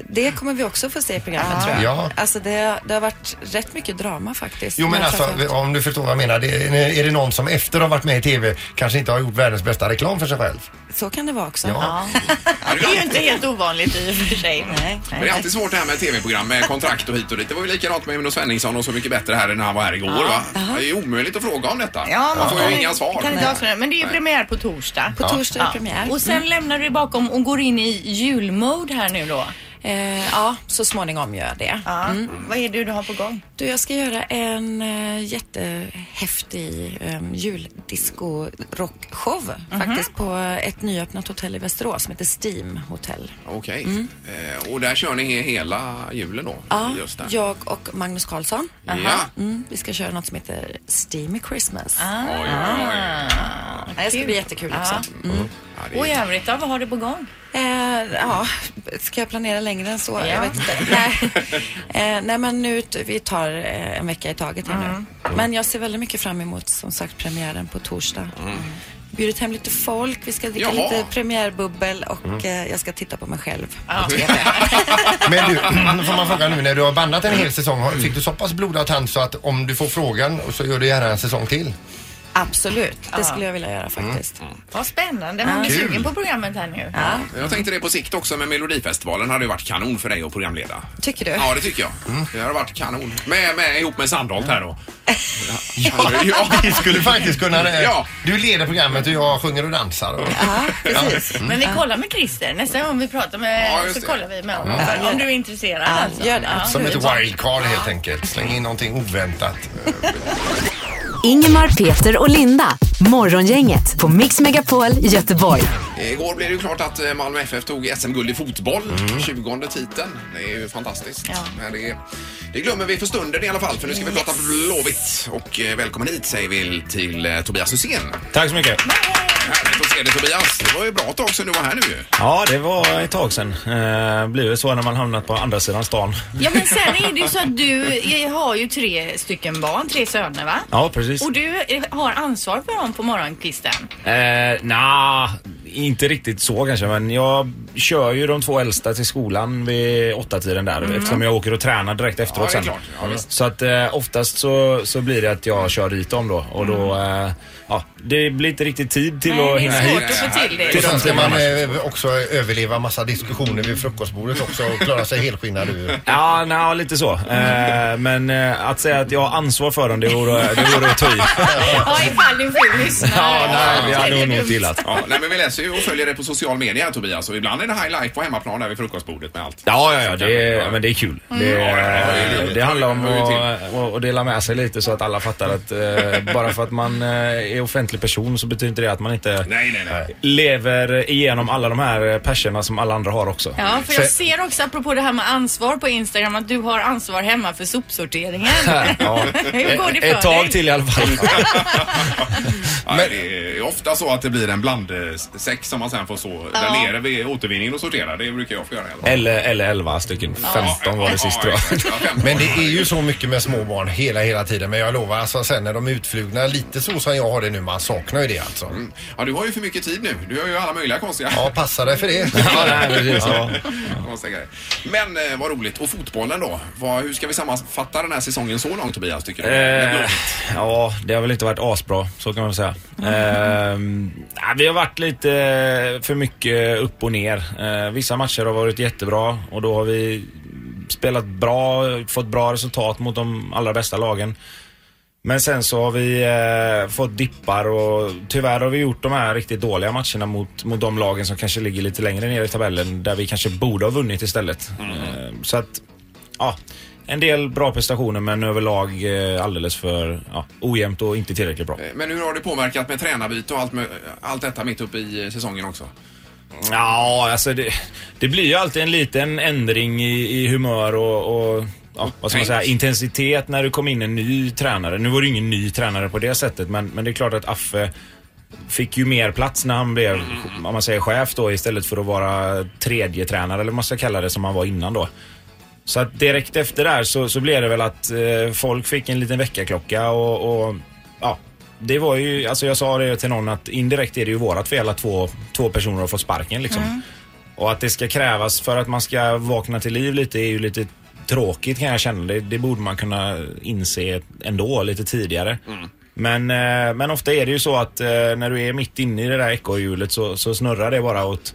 Speaker 11: det kommer vi också få se i programmet
Speaker 1: Mm. Ja.
Speaker 11: tror jag.
Speaker 1: Ja.
Speaker 11: Alltså det, det har varit rätt mycket drama faktiskt.
Speaker 1: Jo men
Speaker 11: Men
Speaker 1: alltså
Speaker 11: framförallt-
Speaker 1: om du förstår vad jag menar. Det, är det någon som efter att ha varit med i TV kanske inte har gjort världens bästa reklam för sig själv?
Speaker 11: Så kan det vara också.
Speaker 1: Ja.
Speaker 4: Det är ju inte helt ovanligt i och för sig. Nej.
Speaker 2: Men det är alltid svårt det här med tv-program med kontrakt och hit och dit. Det var ju likadant med Uno Svenningsson och Så mycket bättre här än han var här igår va? Det är ju omöjligt att fråga om detta.
Speaker 4: Ja,
Speaker 2: Man får
Speaker 4: kan-
Speaker 2: ju inga svar.
Speaker 4: Kan inte avslöja, men det är ju premiär på torsdag.
Speaker 2: På torsdag
Speaker 11: är det premiär.
Speaker 4: Och sen
Speaker 11: Mm.
Speaker 4: lämnar du bakom och går in i julmode här nu då.
Speaker 11: Eh, ja, så småningom gör jag det.
Speaker 4: Ja.
Speaker 11: Mm.
Speaker 4: Vad är det du har på gång?
Speaker 11: Du, jag ska göra en eh, jättehäftig eh, juldisco-rockshow faktiskt på ett nyöppnat hotell i Västerås som heter Steam Hotel.
Speaker 2: Okej. Eh, och där kör ni he- hela julen då?
Speaker 11: Ja,
Speaker 2: Just där.
Speaker 11: jag och Magnus Karlsson.
Speaker 2: Ja.
Speaker 11: Mm, vi ska köra något som heter Steamy Christmas.
Speaker 2: Oj,
Speaker 11: Ja, Det ska bli jättekul också. Mm.
Speaker 4: Och i övrigt då, vad har du på gång?
Speaker 11: Eh, ja, ska jag planera längre än så?
Speaker 4: Ja.
Speaker 11: Jag vet inte. Nej. Eh, nej, men nu, t- vi tar eh, en vecka i taget här nu. Men jag ser väldigt mycket fram emot som sagt premiären på torsdag. Bjudit hem lite folk, vi ska dricka
Speaker 1: Jaha.
Speaker 11: lite premiärbubbel och
Speaker 12: Mm.
Speaker 11: eh, jag ska titta på mig själv.
Speaker 1: Men du, får man fråga nu när du har bandat en hel säsong, har- fick du så pass blodad tand så att om du får frågan så gör du gärna en säsong till?
Speaker 11: Absolut, det
Speaker 4: Ja.
Speaker 11: skulle jag vilja göra
Speaker 13: Mm.
Speaker 11: faktiskt.
Speaker 4: Vad spännande, man blir
Speaker 2: Kul.
Speaker 4: sugen på programmet här nu.
Speaker 2: Jag tänkte det på sikt också med Melodifestivalen hade ju varit kanon för dig att programleda.
Speaker 11: Tycker du?
Speaker 2: Ja, det tycker jag. Det har varit kanon. Med, med, ihop med Sandholt här då.
Speaker 1: Ja, vi skulle faktiskt kunna det.
Speaker 2: Ja.
Speaker 1: Du leder programmet och jag sjunger och dansar. Och...
Speaker 4: Ja,
Speaker 1: precis.
Speaker 4: Men vi kollar med Christer. Nästa gång vi pratar med
Speaker 1: Mm. Ja, just
Speaker 4: så
Speaker 1: det.
Speaker 4: kollar vi med honom.
Speaker 1: Ja.
Speaker 4: för- Om du är intresserad alltså.
Speaker 1: Som ett wildcard helt enkelt. Släng in någonting oväntat.
Speaker 6: Ingemar, Peter och Linda. Morgongänget på Mix Megapol i Göteborg.
Speaker 2: Igår blev det ju klart att eh, Malmö FF tog SM-guld i fotboll. 20 titeln. Det är ju fantastiskt. Men det, det glömmer vi för stunden i alla fall för nu ska vi prata Blåvitt. Och eh, välkommen hit säger vi till eh, Tobias Hysén.
Speaker 13: Tack så mycket.
Speaker 2: Härligt att se dig Tobias. Det var ju bra tag sedan du var här nu ju.
Speaker 13: Ja, det var ett tag sedan. Eh, blir det så när man hamnat på andra sidan stan.
Speaker 4: Ja men sen är det ju så att du har ju tre stycken barn, tre söner va?
Speaker 13: Ja, precis.
Speaker 4: Och du har ansvar för dem på morgonkvisten.
Speaker 13: Eh, Nja, inte riktigt så kanske men jag kör ju de två äldsta till skolan vid åtta tiden där
Speaker 4: Mm.
Speaker 13: eftersom jag åker och tränar direkt efteråt
Speaker 2: det är
Speaker 13: sen.
Speaker 2: klart. Ja, visst.
Speaker 13: så att eh, oftast så, så blir det att jag kör dit dem då och då,
Speaker 2: Mm.
Speaker 13: eh, ja, det blir inte riktigt tid till att hinna hit.
Speaker 1: Och sen ska
Speaker 13: de
Speaker 1: man
Speaker 13: timmarna.
Speaker 1: eh, också överleva massa diskussioner vid frukostbordet också och klara sig helskinnad ur.
Speaker 13: Ja, nej, lite så. Eh,
Speaker 2: Mm.
Speaker 13: men eh, att säga att jag har ansvar för dem, det vore, det vore att ta i.
Speaker 4: Ja ifall du vill lyssna.
Speaker 13: Ja, nej, vi hade nog inte gillat.
Speaker 2: Ja, nej, men vi läser ju och följer det på social media Tobias och ibland är det high life på hemmaplan där vid frukostbordet med allt.
Speaker 13: Ja, ja, Mm. ja, det, är- men det är kul. Det, eh, det handlar om att och, och dela med sig lite så att alla fattar att eh, bara för att man eh, är offentlig person så betyder inte det att man inte lever igenom alla de här eh, perserna som alla andra har också.
Speaker 4: Ja, för jag ser också apropå det här med ansvar på Instagram att du har ansvar hemma för sopsorteringen.
Speaker 13: Ja.
Speaker 4: Hur går det för
Speaker 13: Ett tag
Speaker 4: dig?
Speaker 13: till i alla fall.
Speaker 2: Ja, det är ofta så att det blir en blandsäck som man sen får så
Speaker 4: Ja.
Speaker 2: där nere vid återvinningen och sortera. Det brukar jag få göra i alla fall.
Speaker 13: Eller, eller 11 stycken. 15 var det sist tror jag.
Speaker 1: Men det är ju så mycket med små barn hela, hela tiden. Men jag lovar, alltså sen när de är utflugna lite så som jag har det nu, man saknar ju det alltså.
Speaker 2: Mm. Ja, du har ju för mycket tid nu. Du har ju alla möjliga konstiga...
Speaker 1: Ja, passa dig för det.
Speaker 2: Ja, nej, precis.
Speaker 1: Ja.
Speaker 2: Konstiga grejer. Men eh, vad roligt. Och fotbollen då? Vad, hur ska vi sammanfatta den här säsongen så långt Tobias tycker du?
Speaker 13: Eh, ja, det har väl inte varit asbra, så kan man väl säga. Ehm, nej, vi har varit lite eh, för mycket upp och ner. Eh, vissa matcher har varit jättebra och då har vi spelat bra, fått bra resultat mot de allra bästa lagen. Men sen så har vi eh, fått dippar och tyvärr har vi gjort de här riktigt dåliga matcherna mot, mot de lagen som kanske ligger lite längre ner i tabellen där vi kanske borde ha vunnit istället. Eh, så att, ja. En del bra prestationer men överlag eh, alldeles för ja, ojämnt och inte tillräckligt bra.
Speaker 2: Men hur har det påverkat med tränarbyte och allt, med, allt detta mitt uppe i eh, säsongen också?
Speaker 13: Ja, alltså det, det blir ju alltid en liten ändring i, i humör och, och ja, vad ska man säga, intensitet när du kom in en ny tränare. Nu var det ju ingen ny tränare på det sättet, men, men det är klart att Affe fick ju mer plats när han blev, om man säger chef då, istället för att vara tredje tränare eller vad man ska kalla det, som han var innan då. Så att direkt efter där så, så blev det väl att eh, folk fick en liten väckarklocka och, och ja, det var ju, alltså jag sa det till någon att indirekt är det ju vårat fel att två, två personer har fått sparken liksom. Och att det ska krävas för att man ska vakna till liv lite är ju lite tråkigt kan jag känna. Det, det borde man kunna inse ändå lite tidigare. Men, eh, men ofta är det ju så att eh, när du är mitt inne i det där ekorrhjulet så, så snurrar det bara åt,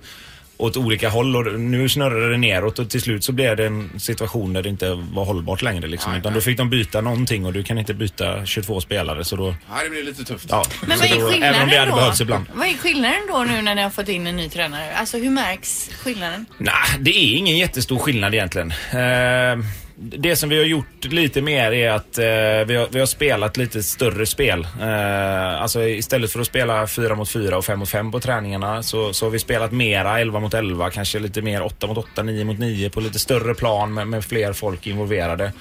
Speaker 13: åt olika håll och nu snurrar det neråt och till slut så blev det en situation där det inte var hållbart längre. Liksom. Utan då fick de byta någonting och du kan inte byta 22 spelare så då...
Speaker 2: Ja, det blir lite tufft.
Speaker 13: Ja.
Speaker 4: Men
Speaker 13: så
Speaker 4: vad är
Speaker 13: då,
Speaker 4: skillnaden
Speaker 13: även om det hade
Speaker 4: då?
Speaker 13: behövts ibland.
Speaker 4: Vad är skillnaden då nu när ni har fått in en ny tränare? Alltså hur märks skillnaden?
Speaker 13: Nej, det är ingen jättestor skillnad egentligen. Eh, det som vi har gjort lite mer är att eh, vi, har, vi har spelat lite större spel. Eh, alltså istället för att spela 4 mot 4 och 5 mot 5 på träningarna så, så har vi spelat mera 11 mot 11, kanske lite mer 8 mot 8, 9 mot 9 på lite större plan med, med fler folk involverade. Eh,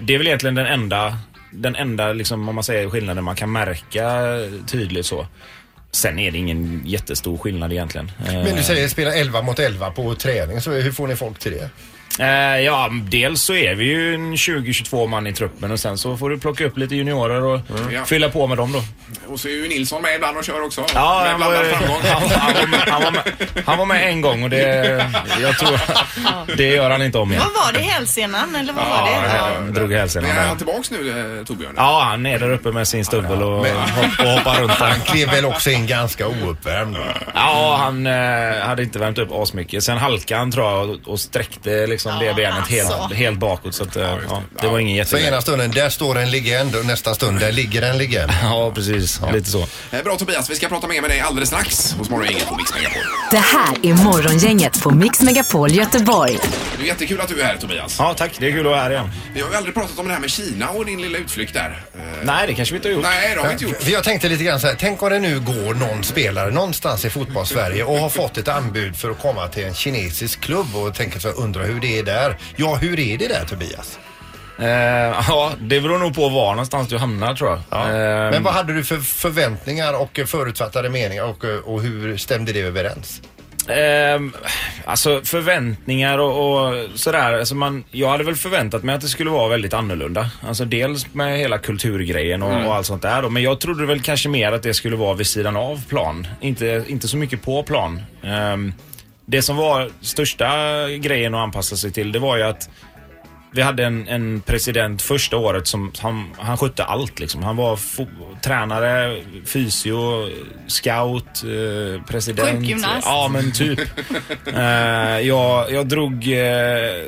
Speaker 13: det är väl egentligen den enda, den enda liksom, om man säger skillnaden man kan märka tydligt så. Sen är det ingen jättestor skillnad egentligen. Eh,
Speaker 1: Men du säger spela 11 mot 11 på träning, så hur får ni folk till det?
Speaker 13: Eh, ja, dels så är vi ju en 20-22 man i truppen och sen så får du plocka upp lite juniorer och
Speaker 2: Ja.
Speaker 13: fylla på med dem då.
Speaker 2: Och så är ju Nilsson med ibland och kör också.
Speaker 13: Ja,
Speaker 2: med
Speaker 13: han var,
Speaker 2: blandad framgång.
Speaker 13: han, han, var med, han, var med, han var med en gång och det, jag tror, det gör han inte om igen.
Speaker 4: Vad var det? Hälsenan eller vad var det?
Speaker 13: Han drog hälsenan
Speaker 2: Är
Speaker 13: där.
Speaker 2: han tillbaks nu, eh, Torbjörn?
Speaker 13: Ja, han är där uppe med sin stubbel och, hopp- och hoppar runt där.
Speaker 1: Han klev väl också in ganska ouppvärmd? va?
Speaker 13: Ja, han eh, hade inte värmt upp asmycket. Sen halkade han tror jag och, och sträckte liksom det benet helt,
Speaker 1: alltså.
Speaker 13: helt bakåt. Så att, eh, ja, det var ingen
Speaker 1: Så
Speaker 13: jättegrej.
Speaker 1: ena stunden, där står en legend och nästa stund, där ligger en legend.
Speaker 13: Ja, precis. Lite så.
Speaker 2: Eh, Bra Tobias, vi ska prata mer med dig alldeles strax hos Morgongänget på Mix Megapol.
Speaker 6: Det här är Morgongänget på Mix Megapol Göteborg.
Speaker 2: Det är jättekul att du är här Tobias.
Speaker 13: Ja, tack. Det är kul att vara här igen.
Speaker 2: Vi har ju aldrig pratat om det här med Kina och din lilla utflykt där. Eh,
Speaker 13: Nej, det kanske vi inte har gjort.
Speaker 2: Nej, det har vi inte gjort.
Speaker 1: För Jag tänkte lite grann så här, tänk om det nu går någon spelare någonstans i fotbollssverige och har fått ett anbud för att komma till en kinesisk klubb och tänker så här, undra hur det är där. Ja, hur är det där Tobias?
Speaker 13: Eh, ja, det beror nog på var någonstans du hamnar tror jag. Eh,
Speaker 1: Men vad hade du för förväntningar och förutfattade meningar och, och hur stämde det överens?
Speaker 13: Ehm, alltså förväntningar och, och sådär. Alltså man, jag hade väl förväntat mig att det skulle vara väldigt annorlunda. Alltså dels med hela kulturgrejen och,
Speaker 7: Mm.
Speaker 13: och allt sånt där. då. Men jag trodde väl kanske mer att det skulle vara vid sidan av plan. Inte, inte så mycket på plan. Ehm, det som var största grejen att anpassa sig till, det var ju att vi hade en, en president första året som han, han skötte allt. Liksom. Han var fo- tränare, fysio, scout, eh, president.
Speaker 4: Sjukgymnast.
Speaker 13: Ja, men typ. eh, jag, jag drog, eh,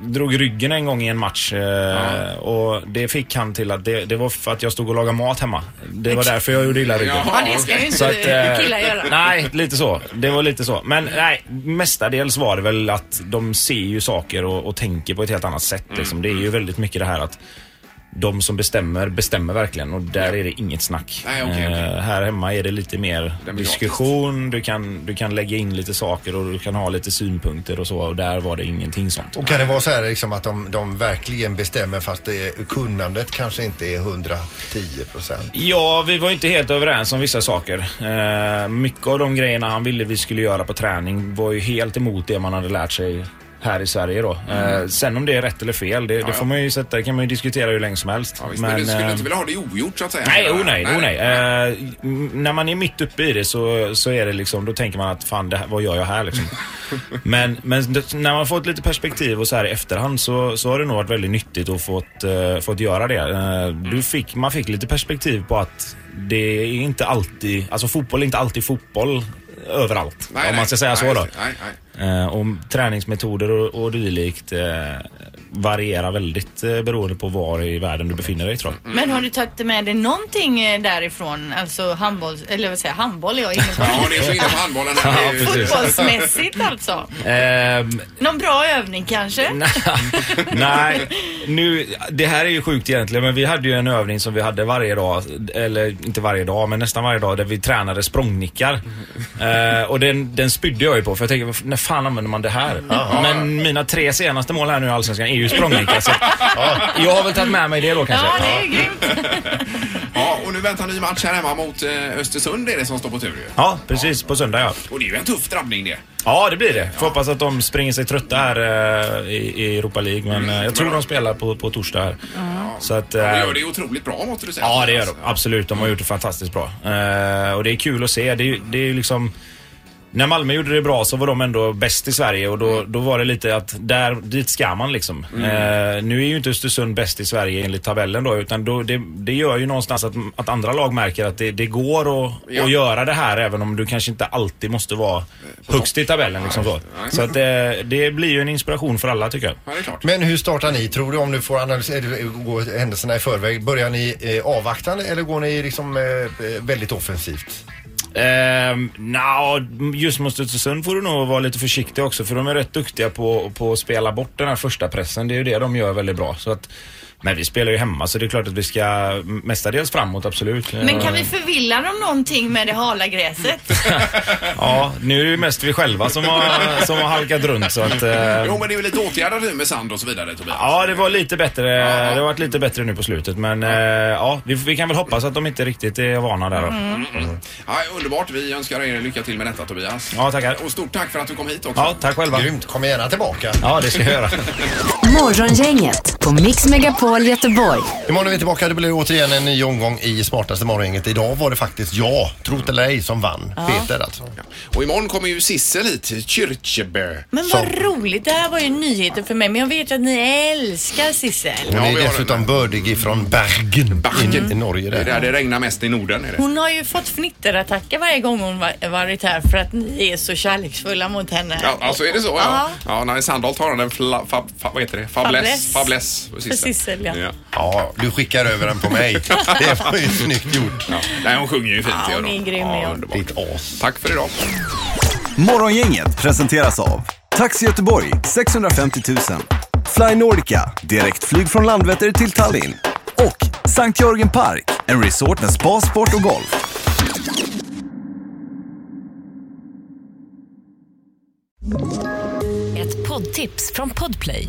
Speaker 13: drog ryggen en gång i en match eh, och det fick han till att det, det var för att jag stod och lagade mat hemma. Det var därför jag gjorde illa ryggen.
Speaker 4: Ja, det ska ju inte
Speaker 13: eh,
Speaker 4: killar göra.
Speaker 13: Nej, lite så. Det var lite så. Men nej, mestadels var det väl att de ser ju saker och, och tänker på ett helt annat sätt.
Speaker 4: Mm.
Speaker 13: Liksom. Det är ju väldigt mycket det här att de som bestämmer, bestämmer verkligen och där är det inget snack.
Speaker 2: Nej, okej,
Speaker 13: Eh,
Speaker 2: okej.
Speaker 13: Här hemma är det lite mer diskussion, du kan, du kan lägga in lite saker och du kan ha lite synpunkter och så och där var det ingenting sånt.
Speaker 1: Och kan det vara så här liksom att de, de verkligen bestämmer fast det, kunnandet kanske inte är 110 procent?
Speaker 13: Ja, vi var inte helt överens om vissa saker. Eh, mycket av de grejerna han ville vi skulle göra på träning var ju helt emot det man hade lärt sig här i Sverige då. Eh,
Speaker 2: Mm.
Speaker 13: sen om det är rätt eller fel, det, det får man ju sätta, kan man ju diskutera hur länge som helst.
Speaker 2: Visst, men, du skulle
Speaker 13: eh,
Speaker 2: inte vilja ha det ogjort så att säga?
Speaker 13: Nej, oh nej, oh nej. Eh, m- när man är mitt uppe i det så, så är det liksom, då tänker man att fan, det här, vad gör jag här liksom? men, men d- när man fått lite perspektiv och så här i efterhand så, så har det nog varit väldigt nyttigt att fått, eh, fått göra det. Eh,
Speaker 2: Mm.
Speaker 13: du fick, man fick lite perspektiv på att det är inte alltid, alltså fotboll är inte alltid fotboll överallt.
Speaker 2: Nej,
Speaker 13: om man ska
Speaker 2: nej,
Speaker 13: säga så
Speaker 2: nej,
Speaker 13: då.
Speaker 2: Nej, nej.
Speaker 13: Eh, och träningsmetoder och, och dylikt eh, varierar väldigt eh, beroende på var i världen du befinner dig tror jag.
Speaker 4: Men har du tagit med dig någonting eh, därifrån? Alltså handboll, eller vad säger jag, handboll är jag inne på.
Speaker 2: Ja, det är så inne på handbollen här.
Speaker 13: Ja, precis.
Speaker 4: Fotbollsmässigt alltså.
Speaker 2: Mm.
Speaker 13: Ehm,
Speaker 4: Någon bra övning kanske?
Speaker 13: Nej, nu, det här är ju sjukt egentligen men vi hade ju en övning som vi hade varje dag, eller inte varje dag men nästan varje dag där vi tränade språngnickar. Eh, Eh, och den, den spydde jag ju på för jag tänkte, när fan använder man det här?
Speaker 12: Jaha.
Speaker 13: Men mina tre senaste mål här nu i Allsvenskan är ju språnglika. så jag har väl tagit med mig det då kanske.
Speaker 3: Ja, det är grymt.
Speaker 2: Ja, och nu väntar ny match här hemma mot eh, Östersund är det som står på tur ju.
Speaker 13: Ja, precis. På söndag ja.
Speaker 2: Och det är ju en tuff drabbning det.
Speaker 13: Ja, det blir det. Får hoppas att de springer sig trötta här eh, i, i Europa League. Men eh, jag tror de spelar på, på torsdag här. Så att, eh,
Speaker 2: De gör det otroligt bra måste du säga. Alltså,
Speaker 13: Ja, det gör de. Absolut. De har gjort det fantastiskt bra. Eh, och det är kul att se. Det är, ju- det är ju liksom... När Malmö gjorde det bra så var de ändå bäst i Sverige och då, då var det lite att där, dit ska man liksom.
Speaker 12: Mm.
Speaker 13: Eh, nu är ju inte Östersund bäst i Sverige enligt tabellen då utan då, det, det gör ju någonstans att, att andra lag märker att det, det går att,
Speaker 2: Ja.
Speaker 13: att göra det här även om du kanske inte alltid måste vara högst i tabellen. Liksom så
Speaker 2: Nej.
Speaker 13: så att, eh, det blir ju en inspiration för alla tycker jag.
Speaker 2: Ja, det är klart.
Speaker 1: Men hur startar ni tror du om du får analysera eller gå händelserna i förväg? Börjar ni eh, avvaktande eller går ni liksom eh, eh, väldigt offensivt?
Speaker 13: Ehm, Nja, just mot Östersund får du nog vara lite försiktig också för de är rätt duktiga på, på att spela bort den här första pressen. Det är ju det de gör väldigt bra. Så att, men vi spelar ju hemma så det är klart att vi ska mestadels framåt, absolut.
Speaker 4: Men kan
Speaker 13: Ehm,
Speaker 4: vi förvilla dem någonting med det hala gräset?
Speaker 13: Eh, Ja, nu är det ju mest vi själva som har, som har halkat runt så att... eh,
Speaker 2: Jo, men det är väl lite åtgärdat nu med sand och så vidare Tobias.
Speaker 13: Ja, det var lite bättre. Det har varit lite bättre nu på slutet men eh, ja, vi, vi kan väl hoppas att de inte riktigt är vana där då.
Speaker 4: Mm.
Speaker 2: Ja, underbart. Vi önskar er lycka till med detta Tobias.
Speaker 13: Ja, tackar.
Speaker 2: Och stort tack för att du kom hit också.
Speaker 13: Ja, tack själva.
Speaker 1: Grymt. Kom gärna tillbaka.
Speaker 13: Ja, det ska jag göra.
Speaker 6: Morgongänget på Mix Megapol Göteborg.
Speaker 1: Imorgon är vi tillbaka. Det blir återigen en ny omgång i smartaste morgongänget. Idag var det faktiskt jag, trot eller ej, som vann.
Speaker 4: Ja.
Speaker 1: Peter alltså.
Speaker 2: Och imorgon kommer ju Sissel hit, Kyrkjebø.
Speaker 4: Men vad roligt, det här var ju nyheter för mig. Men jag vet ju att ni älskar Sissel.
Speaker 1: Hon är dessutom bördig ifrån Bergen,
Speaker 2: Bergen.
Speaker 1: I, i Norge.
Speaker 2: Det är där det regnar mest i Norden. Är det.
Speaker 4: Hon har ju fått fnitterattacker varje gång hon va- varit här för att ni är så kärleksfulla mot henne.
Speaker 2: Ja, alltså är det så? Ja.
Speaker 4: Ja.
Speaker 2: ja när Sandholt har han en fla, fab, fab, vad heter det? Fabless.
Speaker 4: Fabless.
Speaker 2: Fabless. för Sissel.
Speaker 4: För Sissel, ja.
Speaker 1: Ja, du skickar över den på mig. Det var ju snyggt gjort.
Speaker 2: Nej, hon sjunger ju fint.
Speaker 4: Ja,
Speaker 2: gör
Speaker 4: hon är grym, ja.
Speaker 2: underbart. Tack för idag.
Speaker 12: Morgongänget presenteras av Taxi Göteborg 650 000 Fly Nordica, direktflyg från Landvetter till Tallinn och Sankt Jörgen Park, en resort med spa, sport och golf.
Speaker 14: Ett poddtips från Podplay.